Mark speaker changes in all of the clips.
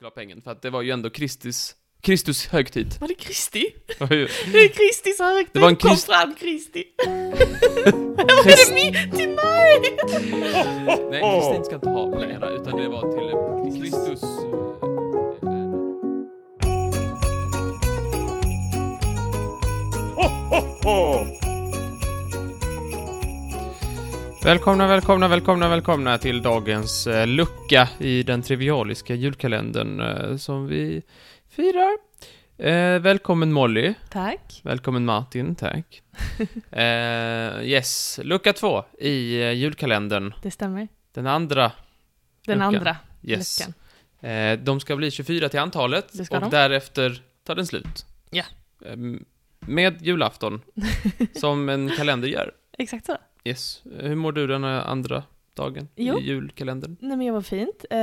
Speaker 1: la pengen, för att det var ju ändå Kristis, Kristus högtid.
Speaker 2: Var det Kristi?
Speaker 1: Det var ju-
Speaker 2: Det är Kristis högtid!
Speaker 1: Det var en
Speaker 2: Kom
Speaker 1: krist-
Speaker 2: fram Kristi! Var det min? Till mig?
Speaker 1: Nej, Kristin ska inte ha pengarna, utan det var till eh, Kristus. eh, eh, eh, Välkomna, välkomna, välkomna, välkomna till dagens eh, lucka i den trivialiska julkalendern eh, som vi firar. Eh, välkommen Molly,
Speaker 2: Tack.
Speaker 1: välkommen Martin, tack. Eh, yes, lucka två i eh, julkalendern.
Speaker 2: Det stämmer.
Speaker 1: Den andra
Speaker 2: Den
Speaker 1: Luckan.
Speaker 2: andra
Speaker 1: Yes.
Speaker 2: luckan.
Speaker 1: Eh, de ska bli 24 till antalet
Speaker 2: Det ska
Speaker 1: och
Speaker 2: de.
Speaker 1: därefter tar den slut.
Speaker 2: Ja.
Speaker 1: Eh, med julafton, som en kalender gör.
Speaker 2: Exakt så.
Speaker 1: Yes. Eh, Hur mår du den här andra dagen
Speaker 2: Jo.
Speaker 1: i julkalendern?
Speaker 2: Nej men jag var fint. Eh,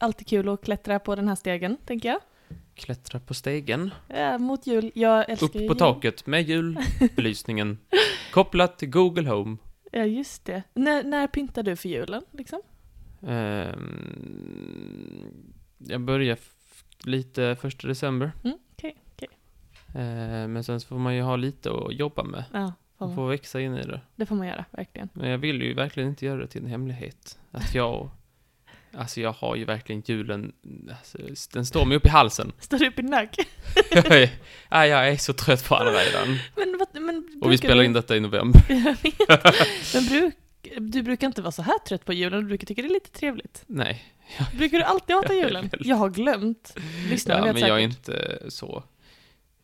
Speaker 2: alltid kul att klättra på den här stegen, tänker jag.
Speaker 1: Klättra på stegen,
Speaker 2: Eh, mot jul. Jag älskar
Speaker 1: upp
Speaker 2: ju
Speaker 1: på
Speaker 2: jul.
Speaker 1: taket med julbelysningen, kopplat till Google Home.
Speaker 2: Ja, just det. När, när pyntar du för julen, liksom?
Speaker 1: Ehm, jag börjar f- lite första december,
Speaker 2: Mm, okej, okej.
Speaker 1: eh, men sen så får man ju ha lite att jobba med.
Speaker 2: Ja, får
Speaker 1: Man
Speaker 2: man.
Speaker 1: får växa in i det.
Speaker 2: det får man göra, verkligen.
Speaker 1: Men jag vill ju verkligen inte göra det till en hemlighet. Att jag... Alltså jag har ju verkligen julen... Alltså, den står mig upp i halsen.
Speaker 2: Står du upp i nack?
Speaker 1: Jag är, nej, jag är så trött på alla redan.
Speaker 2: Men, vad- men
Speaker 1: Och vi spelar in
Speaker 2: det.
Speaker 1: detta i november.
Speaker 2: Jag vet. Men bruk, du brukar inte vara så här trött på julen, du brukar tycka det är lite trevligt.
Speaker 1: Nej.
Speaker 2: Brukar du alltid hata julen? Jag har glömt. Lyssna,
Speaker 1: Ja,
Speaker 2: vet
Speaker 1: men
Speaker 2: säkert.
Speaker 1: jag är inte så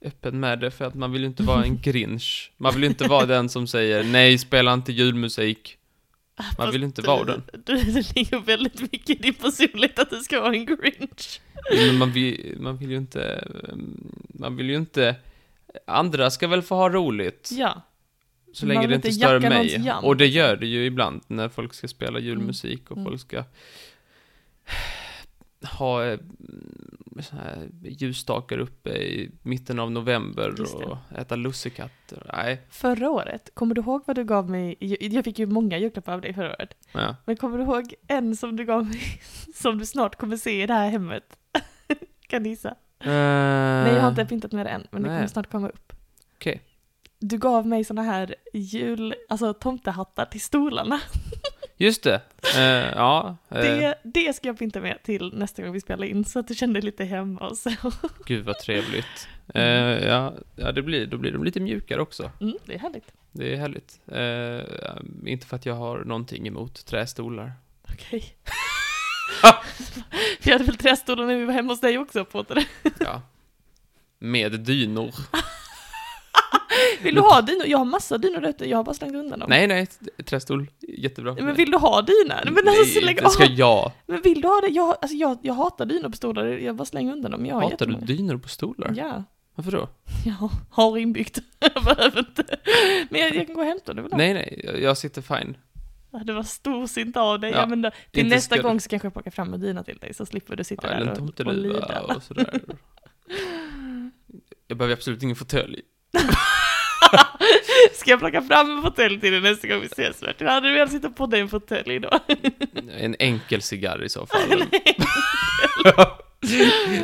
Speaker 1: öppen med det, för att man vill ju inte vara en grinch. Man vill ju inte vara den som säger nej, spela inte julmusik. Man vill inte vara den.
Speaker 2: Du, det ligger väldigt mycket i din personlighet att du ska vara en grinch.
Speaker 1: Men man vill, man vill ju inte... mm, Man vill ju inte... Andra ska väl få ha roligt.
Speaker 2: Ja,
Speaker 1: Så
Speaker 2: Man
Speaker 1: länge det
Speaker 2: vill
Speaker 1: inte
Speaker 2: inte
Speaker 1: stör
Speaker 2: jacka
Speaker 1: mig.
Speaker 2: någons jam.
Speaker 1: Och det gör det ju ibland när folk ska spela julmusik och
Speaker 2: Mm.
Speaker 1: folk ska ha eh, såna här ljusstakar uppe i mitten av november
Speaker 2: Just det.
Speaker 1: och äta lussekatter. Nej,
Speaker 2: förra året, kommer du ihåg vad du gav mig? Jag fick ju många julklappar av dig förra året.
Speaker 1: ja.
Speaker 2: Men kommer du ihåg en som du gav mig, som du snart kommer se i det här hemmet? kan du gissa? Nej, jag
Speaker 1: Eh,
Speaker 2: har inte pyntat med det än, men det
Speaker 1: Ehm, Nej.
Speaker 2: kommer snart komma upp.
Speaker 1: Okej.
Speaker 2: Du gav mig såna här jul, alltså tomtehattar till stolarna.
Speaker 1: Just det. Eh, ja. eh,
Speaker 2: Det, det ska jag pynta med till nästa gång vi spelar in, så att du känner dig lite hemma och så.
Speaker 1: Gud vad trevligt. Eh, ja, ja, det blir, då blir de lite mjukare också.
Speaker 2: Mm, det är härligt.
Speaker 1: Det är härligt. Eh, inte för att jag har någonting emot trästolar.
Speaker 2: Okej. vi hade väl trästolar när vi var hemma hos dig också, på det.
Speaker 1: Ja. Med dynor.
Speaker 2: Vill du ha dynor? Jag har massa dynor där ute, jag har bara slängt undan dem.
Speaker 1: Nej, nej, trästol, jättebra. för
Speaker 2: Men
Speaker 1: mig.
Speaker 2: vill du ha dynor? Men alltså,
Speaker 1: nej,
Speaker 2: lägg
Speaker 1: det ska
Speaker 2: av.
Speaker 1: jag.
Speaker 2: Men vill du ha det? Jag, alltså, jag, jag hatar dynor på stolar, jag bara slänger undan dem. Jag har
Speaker 1: Hatar du
Speaker 2: jättemånga.
Speaker 1: dynor på stolar?
Speaker 2: Ja,
Speaker 1: Varför då?
Speaker 2: jag har inbyggt. jag behöver inte. Men jag, jag kan gå och hämta det väl?
Speaker 1: Nej, nej, jag- jag sitter fine. det
Speaker 2: Det var storsint av dig.
Speaker 1: Ja,
Speaker 2: Ja, men då, till
Speaker 1: inte
Speaker 2: nästa
Speaker 1: skulle-
Speaker 2: gång så kanske jag plockar fram en dyna till dig så slipper du sitta
Speaker 1: Ja, eller en
Speaker 2: där och, och lida.
Speaker 1: tomteluva och sådär. Jag behöver absolut ingen fåtölj.
Speaker 2: Ska jag plocka fram en fåtölj till dig nästa gång vi ses Martin? Hade du velat sitta på dig en fåtölj idag?
Speaker 1: En enkel cigarr i så fall.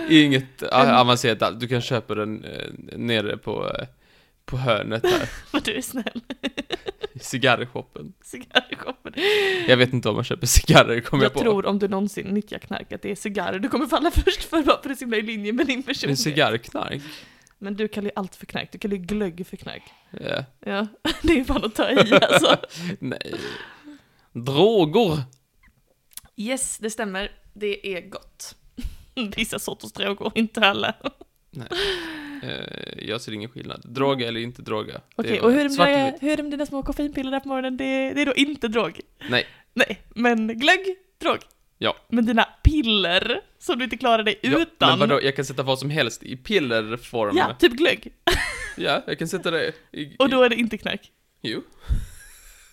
Speaker 1: Inget ah, avancerat alls. Du kan köpa den eh, nere på, eh, på hörnet där,
Speaker 2: För du är snäll.
Speaker 1: i cigarrshoppen.
Speaker 2: Cigarrshoppen.
Speaker 1: Jag vet inte om man köper cigarrer, kommer
Speaker 2: Jag,
Speaker 1: jag, på.
Speaker 2: tror om du någonsin nyttjar knark att det är cigarrer du kommer falla först för bara för det är så himla i linje med din
Speaker 1: Det är
Speaker 2: personlighet.
Speaker 1: cigarrknark.
Speaker 2: Men du kallar ju allt för knark, du kallar ju glögg för knark.
Speaker 1: Ja.
Speaker 2: Ja, det är ju fan att ta i alltså.
Speaker 1: Eh, Nej. Droger!
Speaker 2: Yes, det stämmer. Det är gott. Vissa sorters droger, inte alla.
Speaker 1: Eh, Jag ser ingen skillnad. Droga eller inte droga. Det
Speaker 2: Okej,
Speaker 1: är
Speaker 2: och hur är, det med
Speaker 1: svart eller
Speaker 2: dina,
Speaker 1: vitt.
Speaker 2: hur är det med dina små koffeinpiller där på morgonen? Det, det är då inte drog?
Speaker 1: Nej.
Speaker 2: Nej, men glögg, drog.
Speaker 1: Ja.
Speaker 2: Men dina piller, som du inte klarar dig
Speaker 1: Ja,
Speaker 2: utan.
Speaker 1: Men vadå, jag kan sätta vad som helst i pillerform.
Speaker 2: ja, typ glögg.
Speaker 1: Ja, jag kan sätta det i...
Speaker 2: Och då är det inte knark.
Speaker 1: i- Jo.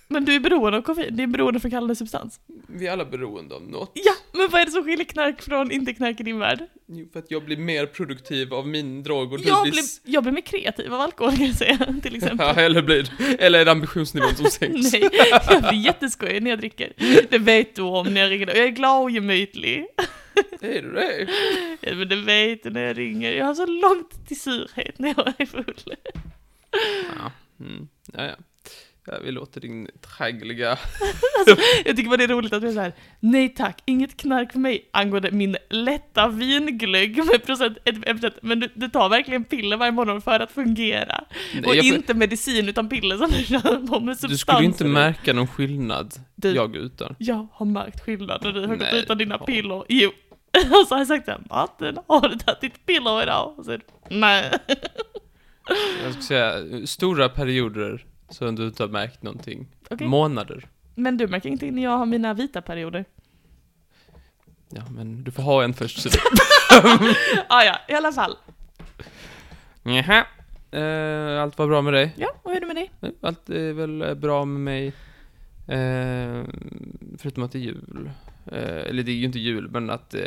Speaker 2: Men du är beroende av koffein, det är beroende från kallande substans.
Speaker 1: Vi är alla beroende av något.
Speaker 2: Ja, men vad är det som skiljer knark från inte knark i din värld?
Speaker 1: Jo, för att jag blir mer produktiv av min drog och du
Speaker 2: Jag
Speaker 1: blir...
Speaker 2: blir, jag blir mer kreativ av alkohol kan jag säga, till exempel.
Speaker 1: Ja, eller blir... Eller är det ambitionsnivån som sänks?
Speaker 2: Nej, jag blir jätteskojig när jag dricker. Det vet du om när jag dricker. Jag är glad och gemytlig.
Speaker 1: Är du det?
Speaker 2: Ja, men det vet du när jag ringer. Jag har så långt till surhet när jag är full.
Speaker 1: Ja, mm. ja, ja. ja vi låter din traggliga...
Speaker 2: Alltså, jag tycker bara det är roligt att du är så här. nej tack, inget knark för mig angående min lätta vinglögg med procent, ett- ett procent. men du, du tar verkligen piller varje morgon för att fungera.
Speaker 1: Nej,
Speaker 2: Och
Speaker 1: jag-
Speaker 2: inte medicin utan piller som du kör på med substanser.
Speaker 1: Du skulle inte märka någon skillnad,
Speaker 2: Du-
Speaker 1: jag utan.
Speaker 2: Jag har märkt skillnad när du har gått
Speaker 1: Nej,
Speaker 2: utan dina
Speaker 1: ja.
Speaker 2: piller. Jo. Och så har jag sagt såhär, Martin, har du tagit ditt piller idag? Och så är det, nej.
Speaker 1: Jag skulle säga, stora perioder som du inte har märkt någonting.
Speaker 2: Okej.
Speaker 1: Månader.
Speaker 2: Men du märker ingenting när jag har mina vita perioder.
Speaker 1: Ja, men du får ha en först.
Speaker 2: Ah, ja, i alla fall.
Speaker 1: Jaha. Eh, allt var bra med dig?
Speaker 2: Ja, och hur är det med dig?
Speaker 1: Nej, Allt är väl eh, bra med mig. Eh, förutom att det är jul. Eh, eller det är ju inte jul, men att eh,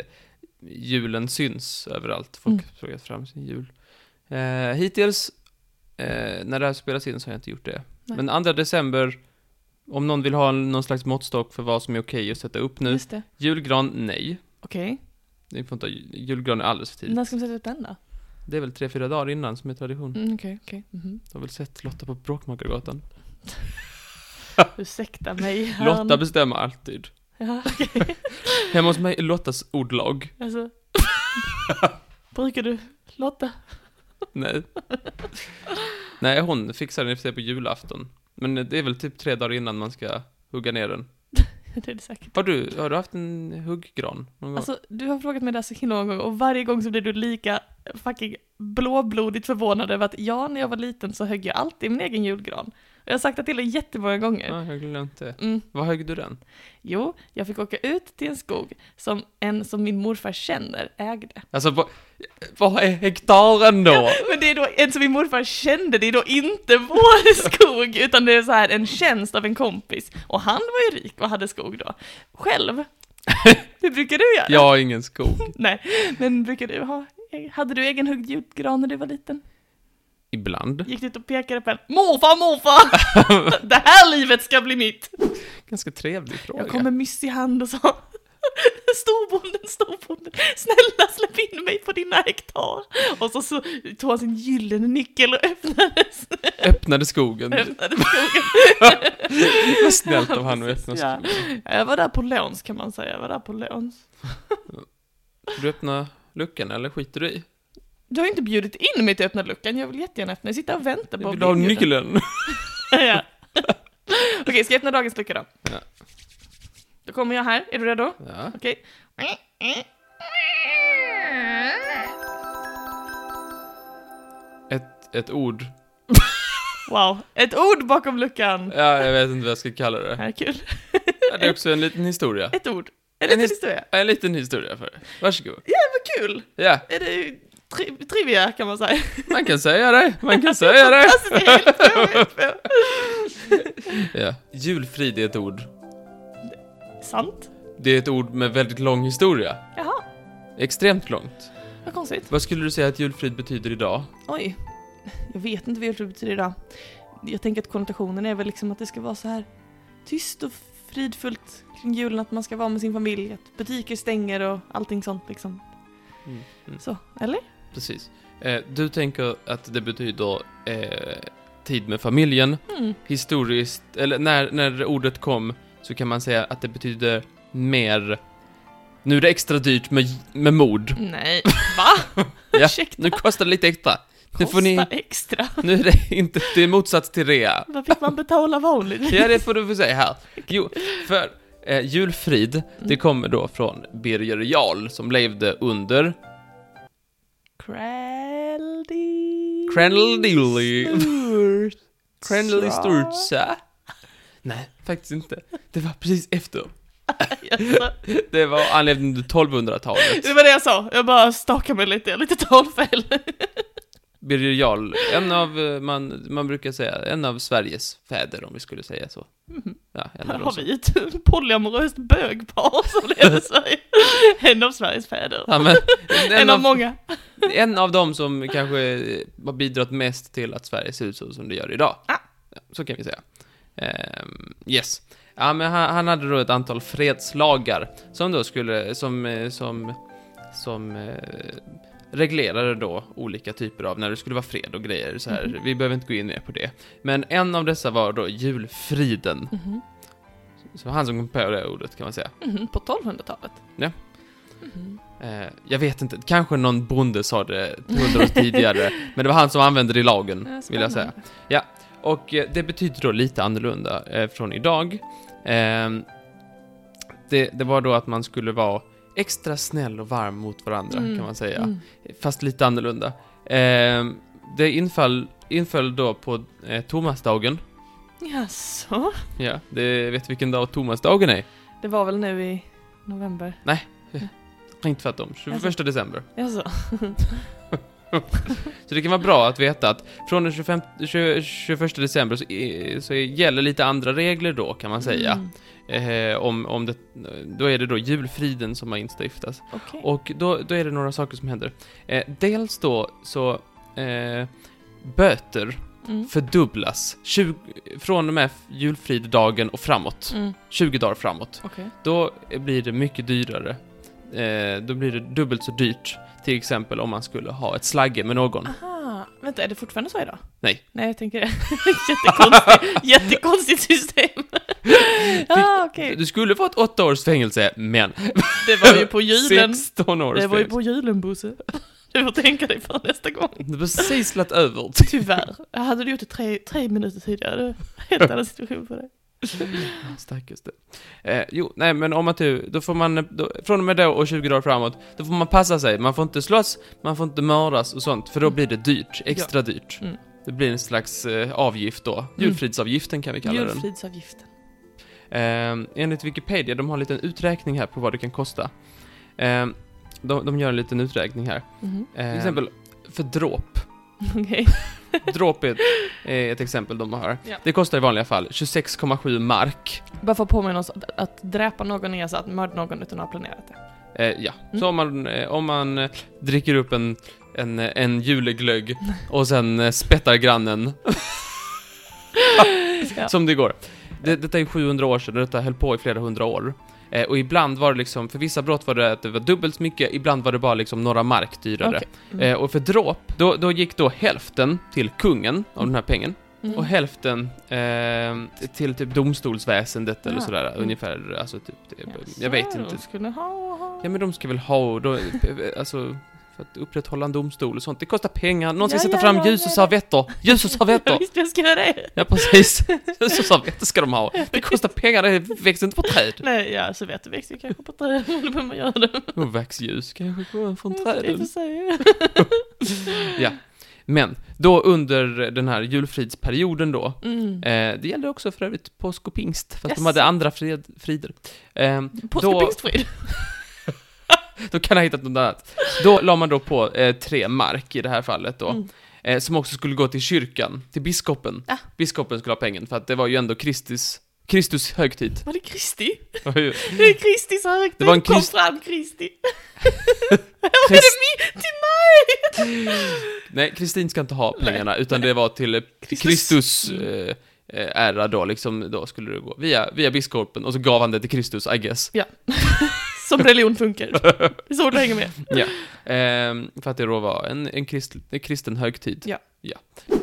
Speaker 1: julen syns överallt. Folk
Speaker 2: Mm.
Speaker 1: frågar fram sin jul. Eh, hittills, eh, när det här spelas in, så har jag inte gjort det.
Speaker 2: Nej.
Speaker 1: Men 2 december, om någon vill ha någon slags måttstock för vad som är okej att sätta upp nu.
Speaker 2: Just det.
Speaker 1: Julgran, nej.
Speaker 2: Okej.
Speaker 1: Ni får inte ha ju- julgran är alldeles för tidigt.
Speaker 2: När ska vi sätta ut den då?
Speaker 1: Det är väl tre, fyra dagar innan som är tradition.
Speaker 2: Mm, Okej, okej. Mhm.
Speaker 1: Du har väl sett Lotta på Bråkmakargatan?
Speaker 2: Ursäkta mig. herrn.
Speaker 1: Lotta bestämmer alltid.
Speaker 2: ja, okej.
Speaker 1: Hemma hos mig är Lottas ordlag.
Speaker 2: Alltså. Brukar du Lotta?
Speaker 1: Nej. Nej, hon fixar den i och för sig på julafton. Men det är väl typ tre dagar innan man ska hugga ner den.
Speaker 2: Det är det säkert.
Speaker 1: Har du, har du haft en hugggran någon gång?
Speaker 2: Alltså, du har frågat mig det här så himla många gånger och varje gång så blir du lika fucking blåblodigt förvånad över att ja, när jag var liten så högg jag alltid min egen julgran. Och jag har sagt det till dig jättemånga gånger.
Speaker 1: Nej, jag har glömt det.
Speaker 2: Mm.
Speaker 1: Var högg du den?
Speaker 2: Jo, jag fick åka ut till en skog som en som min morfar känner ägde.
Speaker 1: Alltså, vad, vad är hektaren då?
Speaker 2: Men det är då en som min morfar kände, det är då inte vår skog, utan det är så här en tjänst av en kompis. Och han var ju rik och hade skog då. Själv, hur brukar du göra?
Speaker 1: Jag har ingen skog.
Speaker 2: Nej, men brukar du ha, hade du egen huggd julgran när du var liten?
Speaker 1: Ibland.
Speaker 2: Gick du ut och pekade på en Morfar, morfar! det här livet ska bli mitt!
Speaker 1: Ganska trevlig fråga.
Speaker 2: Jag kom med myss i hand och sa Storbonden, storbonden, snälla släpp in mig på dina hektar! Och så, så tog han sin gyllene nyckel och öppnade,
Speaker 1: Öppnade skogen.
Speaker 2: öppnade skogen.
Speaker 1: Vad snällt av han att
Speaker 2: Precis,
Speaker 1: öppna
Speaker 2: ja.
Speaker 1: skogen.
Speaker 2: Ja, Jag var där på låns kan man säga, jag var där på låns.
Speaker 1: Får Du öppna luckan eller skiter du i?
Speaker 2: Du har ju inte bjudit in mig till öppna luckan, jag vill jättegärna öppna, jag sitter och väntar på att
Speaker 1: Vill
Speaker 2: bli
Speaker 1: du ha
Speaker 2: inbjuden.
Speaker 1: nyckeln?
Speaker 2: ja. Okej, ska jag öppna dagens lucka då?
Speaker 1: Ja.
Speaker 2: Då kommer jag här, är du redo?
Speaker 1: Ja.
Speaker 2: Okej.
Speaker 1: Ett, ett ord.
Speaker 2: Wow, ett ord bakom luckan!
Speaker 1: Ja, jag vet inte vad jag ska kalla det.
Speaker 2: Det här är kul.
Speaker 1: Ja, Det är också en liten historia.
Speaker 2: Ett ord. Är det
Speaker 1: En
Speaker 2: en
Speaker 1: his-
Speaker 2: historia?
Speaker 1: En liten historia för dig. Varsågod.
Speaker 2: Vad kul!
Speaker 1: Ja,
Speaker 2: Är det tri- trivia kan man säga?
Speaker 1: man kan säga det. Man kan säga det.
Speaker 2: Alltså, det är helt sjukt.
Speaker 1: Ja. Julfrid är ett ord.
Speaker 2: Sant?
Speaker 1: Det är ett ord med väldigt lång historia.
Speaker 2: Jaha,
Speaker 1: Extremt långt.
Speaker 2: vad konstigt.
Speaker 1: Vad skulle du säga att julfrid betyder idag?
Speaker 2: Oj. Jag vet inte vad julfrid betyder idag. Jag tänker att konnotationen är väl liksom att det ska vara så här tyst och fridfullt kring julen, att man ska vara med sin familj, att butiker stänger och allting sånt liksom.
Speaker 1: Mm, mm,
Speaker 2: Så, eller?
Speaker 1: Precis. Eh, Du tänker att det betyder eh, tid med familjen.
Speaker 2: Mm.
Speaker 1: Historiskt, eller när, när ordet kom så kan man säga att det betyder mer. Nu är det extra dyrt med, med mod.
Speaker 2: Nej, va?
Speaker 1: Ja,
Speaker 2: Ursäkta,
Speaker 1: Nu kostar det lite extra. Nu får ni...
Speaker 2: kostar extra.
Speaker 1: Nu är det inte, det är motsats till rea.
Speaker 2: Vad fick man betala vanligt?
Speaker 1: Ja, det får du få säga här. Jo, för eh, julfrid,
Speaker 2: Mm.
Speaker 1: det kommer då från Birger Jarl som levde under
Speaker 2: Crandilly.
Speaker 1: Crandilly.
Speaker 2: Snurt.
Speaker 1: Cranley
Speaker 2: Sra. äh?
Speaker 1: Sturza. Nej, faktiskt inte. Det var precis efter.
Speaker 2: Jaså.
Speaker 1: Det var, han levde under 1200-talet.
Speaker 2: Det var det jag sa, jag bara stakade mig lite, lite talfel.
Speaker 1: Birger Jarl, en av, eh, man, man brukar säga, en av Sveriges fäder om vi skulle säga så. Ja, en
Speaker 2: Här
Speaker 1: av
Speaker 2: har
Speaker 1: dem.
Speaker 2: vi ett polyamoröst bögpar som lever i Sverige. En av Sveriges fäder.
Speaker 1: Ja, men,
Speaker 2: en, av, många.
Speaker 1: En av dem som kanske eh, har bidragit mest till att Sverige ser ut så som det gör idag.
Speaker 2: Ah.
Speaker 1: Ja, Så kan vi säga. Ehm, yes. Ja, men han, han hade då ett antal fredslagar som då skulle, som, eh, som, som eh, reglerade då olika typer av, när det skulle vara fred och grejer så här.
Speaker 2: Mhm.
Speaker 1: Vi behöver inte gå in mer på det. Men en av dessa var då julfriden.
Speaker 2: Mhm.
Speaker 1: Så det var han som kom på det ordet kan man säga.
Speaker 2: Mhm, På 1200-talet?
Speaker 1: Ja.
Speaker 2: Mhm.
Speaker 1: Eh, jag vet inte, kanske någon bonde sa det hundra år tidigare, men det var han som använde det i lagen,
Speaker 2: Eh,
Speaker 1: vill jag säga.
Speaker 2: spännande.
Speaker 1: Och eh, det betyder då lite annorlunda eh, från idag. Eh, det, det var då att man skulle vara extra snäll och varm mot varandra,
Speaker 2: Mm,
Speaker 1: kan man säga.
Speaker 2: Mm.
Speaker 1: Fast lite annorlunda. Eh, det inföll, inföll då på eh, Tomasdagen.
Speaker 2: Jaså?
Speaker 1: Ja, det vet du vilken dag Tomasdagen är?
Speaker 2: Det var väl nu i november?
Speaker 1: Inte tvärtom, 21
Speaker 2: Alltså.
Speaker 1: december.
Speaker 2: Jaså?
Speaker 1: Så det kan vara bra att veta att från den 25, 20, 21 december så, i- så gäller lite andra regler då kan man säga.
Speaker 2: Mm.
Speaker 1: Eh, om, om det, då är det då julfriden som har instiftats.
Speaker 2: Okej.
Speaker 1: Och då, då är det några saker som händer. Eh, dels då så eh, böter
Speaker 2: Mm.
Speaker 1: fördubblas 20, från och med f- julfridedagen och framåt.
Speaker 2: Mm.
Speaker 1: 20 dagar framåt.
Speaker 2: Okej.
Speaker 1: Då blir det mycket dyrare. Eh, då blir det dubbelt så dyrt. Till exempel om man skulle ha ett slagge med någon.
Speaker 2: Aha, vänta, är det fortfarande så idag?
Speaker 1: Nej.
Speaker 2: Mm. Nej, jag tänker Ah, det. Jättekonstigt, jättekonstigt system. ah, okej.
Speaker 1: Du skulle fått åtta års fängelse, men
Speaker 2: Det var ju på julen.
Speaker 1: 16 års
Speaker 2: Det var ju
Speaker 1: fängelse.
Speaker 2: på julen, Bosse. Du får tänka dig för nästa gång.
Speaker 1: Du har precis lagt över.
Speaker 2: Tyvärr. Jag hade du gjort det tre, tre minuter tidigare, det var en helt annan situation för dig.
Speaker 1: Stackars du. Eh, jo, nej men om att du, då får man, eh, då, från och med då och 20 dagar framåt, då får man passa sig. Man får inte slåss, man får inte mördas och sånt, för då blir det dyrt. Extra dyrt.
Speaker 2: Mm.
Speaker 1: Det blir en slags eh, avgift då. Julfridsavgiften kan vi kalla den.
Speaker 2: Julfridsavgiften.
Speaker 1: Eh, enligt Wikipedia, de har en liten uträkning här på vad det kan kosta. Eh, de, de gör en liten uträkning här.
Speaker 2: Mhm.
Speaker 1: Eh, till exempel, för dråp.
Speaker 2: Okej.
Speaker 1: Dråp är ett, är ett exempel de har.
Speaker 2: Ja.
Speaker 1: Det kostar i vanliga fall 26,7 mark.
Speaker 2: Bara för att påminna oss, att, att dräpa någon är alltså att mörda någon utan att ha planerat det.
Speaker 1: Eh, ja,
Speaker 2: Mm.
Speaker 1: så om man, eh, om man eh, dricker upp en, en, eh, en juleglögg och sen eh, spettar grannen, Ah,
Speaker 2: Ja.
Speaker 1: som det går. Det, detta är 700 år sedan och detta höll på i flera hundra år. Eh, och ibland var det liksom, för vissa brott var det att det var dubbelt så mycket, ibland var det bara liksom några mark dyrare.
Speaker 2: Okej. Mm.
Speaker 1: Eh, och för dråp, då, då gick då hälften till kungen av den här pengen.
Speaker 2: Mm.
Speaker 1: Och hälften eh, till typ domstolsväsendet eller
Speaker 2: Ja.
Speaker 1: sådär,
Speaker 2: Mm.
Speaker 1: ungefär, alltså typ,
Speaker 2: Jaså,
Speaker 1: jag vet
Speaker 2: de
Speaker 1: inte.
Speaker 2: Skulle ha, ha.
Speaker 1: Ja men de ska väl ha, och då, alltså, för att upprätthålla en domstol och sånt, det kostar pengar, någon ska
Speaker 2: Ja,
Speaker 1: sätta
Speaker 2: ja,
Speaker 1: fram
Speaker 2: ja,
Speaker 1: ljus
Speaker 2: ja,
Speaker 1: och
Speaker 2: ja.
Speaker 1: servetter, ljus och servetter!
Speaker 2: Visst, jag ska göra det.
Speaker 1: ja precis, ljus och servetter ska de ha, det kostar pengar, det växer inte på träd.
Speaker 2: Nej, ja, så vet du växer ju kanske på träd, beroende på hur man gör det.
Speaker 1: Och vaxljus kanske kommer från
Speaker 2: I och för
Speaker 1: träden.
Speaker 2: sig.
Speaker 1: Men, då under den här julfridsperioden då,
Speaker 2: Mm.
Speaker 1: eh, det gällde också för övrigt påsk och pingst, för att de
Speaker 2: Yes.
Speaker 1: hade andra fred, frider. Eh,
Speaker 2: Påsk
Speaker 1: då-
Speaker 2: och pingstfrid.
Speaker 1: Då kan ha hittat något annat. Då la man då på eh, tre mark i det här fallet då.
Speaker 2: Mm.
Speaker 1: Eh, som också skulle gå till kyrkan, till biskopen.
Speaker 2: Ah.
Speaker 1: Biskopen skulle ha pengen för att det var ju ändå Kristus, Kristus högtid.
Speaker 2: Var det Kristi?
Speaker 1: Det var ju
Speaker 2: Det är Kristi så högt.
Speaker 1: Det var en
Speaker 2: Kom
Speaker 1: krist-
Speaker 2: fram Kristi. Var
Speaker 1: Krist-
Speaker 2: det mi- till mig?
Speaker 1: Nej, Kristin ska inte ha pengarna utan det var till eh,
Speaker 2: Kristus. Mm.
Speaker 1: Kristus eh, eh, ära då liksom, då skulle det gå via, via biskopen och så gav han det till Kristus, I guess.
Speaker 2: Som religion funkar. Det är så du hänger med.
Speaker 1: Ja. Ehm, för att det då var en, en, krist, en kristen högtid.
Speaker 2: Ja.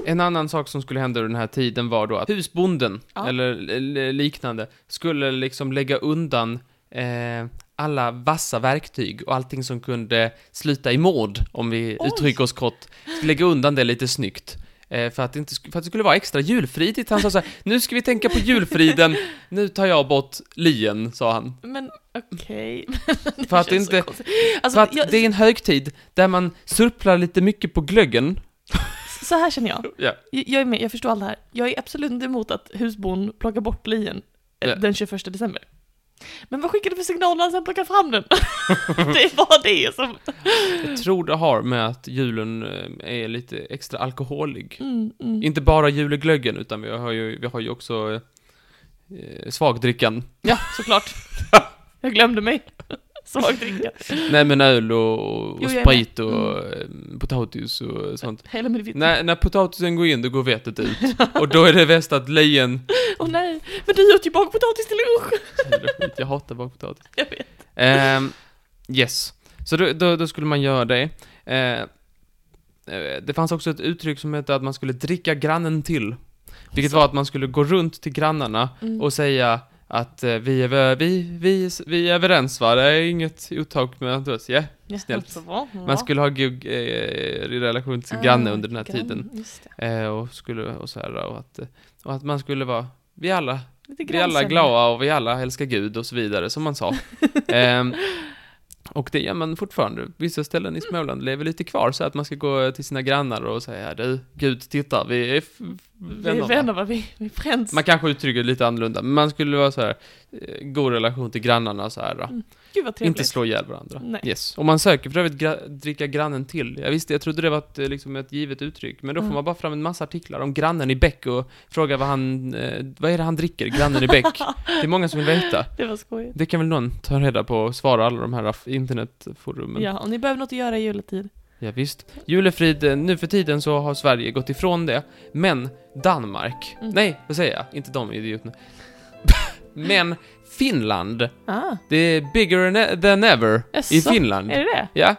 Speaker 1: En annan sak som skulle hända under den här tiden var då att husbonden,
Speaker 2: Ja.
Speaker 1: eller l- liknande, skulle liksom lägga undan eh, alla vassa verktyg och allting som kunde sluta i mord, om vi
Speaker 2: Oj.
Speaker 1: uttrycker oss kort. Skulle Lägga undan det lite snyggt. eh, För att, det inte, sk- för att det skulle vara extra julfridigt. Han sa så här, nu ska vi tänka på julfriden, nu tar jag bort lien, sa han.
Speaker 2: Men okej. Det
Speaker 1: För att
Speaker 2: känns
Speaker 1: inte-
Speaker 2: så konstigt. Alltså,
Speaker 1: För att
Speaker 2: jag,
Speaker 1: det är en högtid där man surplar lite mycket på glöggen.
Speaker 2: Så här känner jag.
Speaker 1: Ja.
Speaker 2: Jag jag är med, jag förstår allt det här. Jag är absolut inte emot att husbon plockar bort lien eh,
Speaker 1: Ja.
Speaker 2: den 21 december. Men vad skickar du för signal när han sen plockar fram den? det var det som...
Speaker 1: Jag tror det har med att julen eh, är lite extra alkoholig.
Speaker 2: Mm, mm.
Speaker 1: Inte bara juleglöggen, utan vi har ju, vi har ju också eh, svagdrickan.
Speaker 2: Ja, såklart. jag glömde mig. Svag dricka.
Speaker 1: Nej men öl och, och
Speaker 2: Jo, jag är
Speaker 1: sprit
Speaker 2: med. Mm.
Speaker 1: och eh, potatis och sånt.
Speaker 2: Hela min vitt.
Speaker 1: När, när potatisen går in, då går vetet ut. Och då är det bäst att lejen
Speaker 2: Åh nej, men du åt ju bakpotatis till lunch!
Speaker 1: Jävla skit, Jag hatar bakpotatis.
Speaker 2: Jag vet.
Speaker 1: Ehm, yes. Så då, då, då skulle man göra det. Eh, eh, det fanns också ett uttryck som hette att man skulle dricka grannen till. Vilket var att man skulle gå runt till grannarna
Speaker 2: Mm.
Speaker 1: och säga att eh, vi, är, vö- vi, vi, vi är överens va, det är inget otag med oss. Yeah.
Speaker 2: Ja,
Speaker 1: snällt.
Speaker 2: alltså, va? Ja.
Speaker 1: Man skulle ha gugg eh, i relation till sin
Speaker 2: Ah,
Speaker 1: granne under den här
Speaker 2: grann,
Speaker 1: tiden.
Speaker 2: Just det.
Speaker 1: Eh, och, skulle, och, så här, och, att, eh, och att man skulle vara, vi alla
Speaker 2: Lite
Speaker 1: vi alla är
Speaker 2: grannsämja.
Speaker 1: glada och vi alla älskar Gud och så vidare, som man sa. Ehm, och det gör man fortfarande. Vissa ställen i Småland lever lite kvar så att man ska gå till sina grannar och säga du, Gud tittar, vi är f-
Speaker 2: Vi är
Speaker 1: vänner.
Speaker 2: vänner va? Vi, vi är friends.
Speaker 1: Man kanske uttrycker det lite annorlunda, men man skulle vara så här, eh, god relation till grannarna så här. då.
Speaker 2: Gud vad Mm, trevligt.
Speaker 1: Inte slå ihjäl varandra.
Speaker 2: Nej.
Speaker 1: Yes. Och man söker för övrigt gra- dricka grannen till. Jag visste, jag trodde det var ett, eh, liksom ett givet uttryck, men då får
Speaker 2: Mm.
Speaker 1: man bara fram en massa artiklar om grannen i bäck och frågar vad han, eh, vad är det han dricker, grannen i bäck? Det är många som vill veta.
Speaker 2: Det var skojigt.
Speaker 1: Det kan väl någon ta reda på och svara alla de här f- internetforumen.
Speaker 2: Ja, om ni behöver något att göra i juletid.
Speaker 1: Ja, visst. Julefrid, eh, nu för tiden så har Sverige gått ifrån det, men Danmark,
Speaker 2: Mm.
Speaker 1: nej, vad säger jag? Inte de idioterna. men Finland,
Speaker 2: Ah,
Speaker 1: det är bigger ne- than ever i
Speaker 2: Jaså?
Speaker 1: Finland.
Speaker 2: är det det?
Speaker 1: Ja.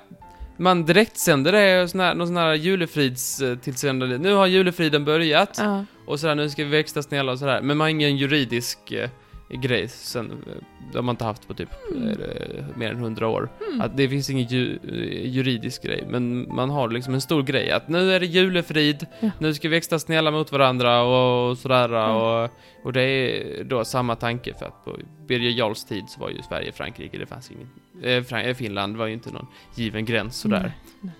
Speaker 1: Man direktsänder det, och sån här, någon sån här julefrids eh, tillsändande. Nu har julefriden börjat
Speaker 2: Ja.
Speaker 1: och sådär, nu ska vi växla snälla och sådär. Men man har ingen juridisk eh, grej sen, eh, det har man inte haft på typ
Speaker 2: Mm.
Speaker 1: eh, mer än hundra år.
Speaker 2: Mm.
Speaker 1: Att det finns ingen ju, eh, juridisk grej, men man har liksom en stor grej att nu är det julefrid,
Speaker 2: Ja.
Speaker 1: nu ska vi växla snälla mot varandra och, och sådär.
Speaker 2: Mm.
Speaker 1: Och, och det är då samma tanke för att på Birger Jarls tid så var ju Sverige Frankrike, det fanns ingen, eh, Fran- eh, Finland var ju inte någon given gräns sådär.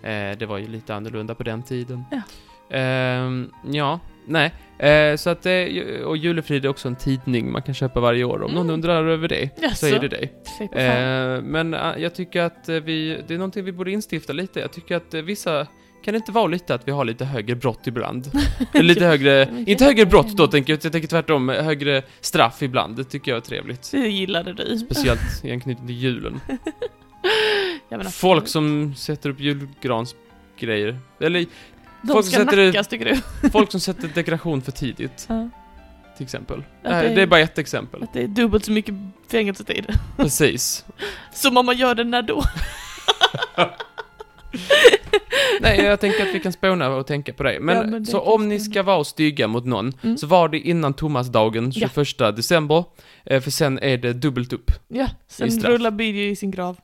Speaker 2: Mm.
Speaker 1: Eh, det var ju lite annorlunda på den tiden.
Speaker 2: Ja.
Speaker 1: Ehm, ja, nej. Eh, så att det, och Julefrid är också en tidning man kan köpa varje år. Om någon
Speaker 2: Mm.
Speaker 1: undrar över det, så
Speaker 2: Jaså?
Speaker 1: är det dig.
Speaker 2: Säg på fan.
Speaker 1: Eh, men eh, jag tycker att eh, vi, det är någonting vi borde instifta lite. Jag tycker att eh, vissa, kan det inte vara lite att vi har lite högre brott ibland? Eller lite högre,
Speaker 2: men
Speaker 1: inte
Speaker 2: det-
Speaker 1: högre brott då tänker jag, jag tänker tvärtom, eh, högre straff ibland. Det tycker jag är trevligt.
Speaker 2: Det gillade du.
Speaker 1: Speciellt i anknytning till julen.
Speaker 2: Jag menar,
Speaker 1: Folk som sätter upp julgransgrejer. Eller
Speaker 2: de
Speaker 1: folk
Speaker 2: ska
Speaker 1: sätter-
Speaker 2: nackas tycker du?
Speaker 1: folk som sätter dekoration för tidigt,
Speaker 2: Ja.
Speaker 1: till exempel.
Speaker 2: Ja,
Speaker 1: Nej,
Speaker 2: det-
Speaker 1: det är bara ett exempel.
Speaker 2: Att det är dubbelt så mycket fängelsetid.
Speaker 1: Precis.
Speaker 2: Som om man gör det när då?
Speaker 1: Nej, jag tänker att vi kan spåna och tänka på det. Men,
Speaker 2: Ja, men det
Speaker 1: så
Speaker 2: kan
Speaker 1: om ni
Speaker 2: spåna.
Speaker 1: ska vara stygga mot någon,
Speaker 2: Mm.
Speaker 1: så var det innan Thomasdagen,
Speaker 2: Ja.
Speaker 1: 21 december. eh, För sen är det dubbelt upp.
Speaker 2: Ja,
Speaker 1: I
Speaker 2: sen
Speaker 1: straff.
Speaker 2: rullar Birger i sin grav.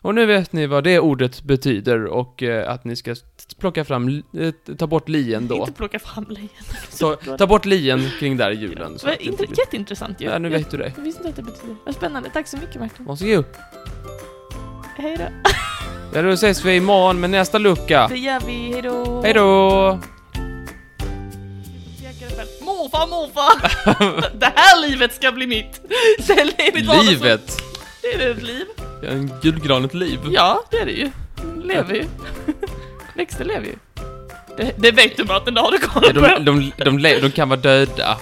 Speaker 1: Och nu vet ni vad det ordet betyder och eh, att ni ska t- plocka fram, eh, ta bort lien då.
Speaker 2: Inte plocka fram lejon.
Speaker 1: Så, ta bort lien kring där julen. Så
Speaker 2: Vad
Speaker 1: att det inte
Speaker 2: intre-
Speaker 1: blir-
Speaker 2: Jätteintressant ju.
Speaker 1: ja, nu
Speaker 2: Jag-
Speaker 1: vet du det.
Speaker 2: Jag visste inte att det betyder. Vad spännande. Tack så mycket Martin.
Speaker 1: Varsågod.
Speaker 2: Hej då.
Speaker 1: Ja, då ses vi imorgon med nästa lucka.
Speaker 2: Det gör vi. Hej då.
Speaker 1: Hej då!
Speaker 2: Morfar, morfar! det här livet ska bli mitt! Det är mitt vardagsliv.
Speaker 1: Livet!
Speaker 2: Det är ett liv.
Speaker 1: En julgran ett liv.
Speaker 2: Ja, det är det ju. Lever ju. Växter lever ju. Det, det vet du Martin, det har du koll på.
Speaker 1: De, de, de, le- de kan vara döda.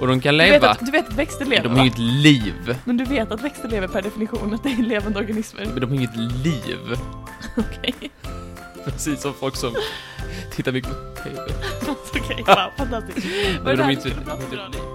Speaker 1: Och de kan
Speaker 2: du, vet
Speaker 1: leva.
Speaker 2: att, du vet att växter
Speaker 1: Men
Speaker 2: lever
Speaker 1: de har
Speaker 2: va?
Speaker 1: inget liv.
Speaker 2: Men du vet att växter lever per definition, att det är levande organismer.
Speaker 1: Men de har inget liv.
Speaker 2: Okej.
Speaker 1: Precis som folk som tittar mycket på TV.
Speaker 2: Okej, wow, fantastiskt. Vad
Speaker 1: Men
Speaker 2: är det
Speaker 1: de
Speaker 2: här
Speaker 1: är
Speaker 2: vi
Speaker 1: inte,
Speaker 2: skulle
Speaker 1: de har
Speaker 2: prata om
Speaker 1: inte
Speaker 2: idag?
Speaker 1: liv.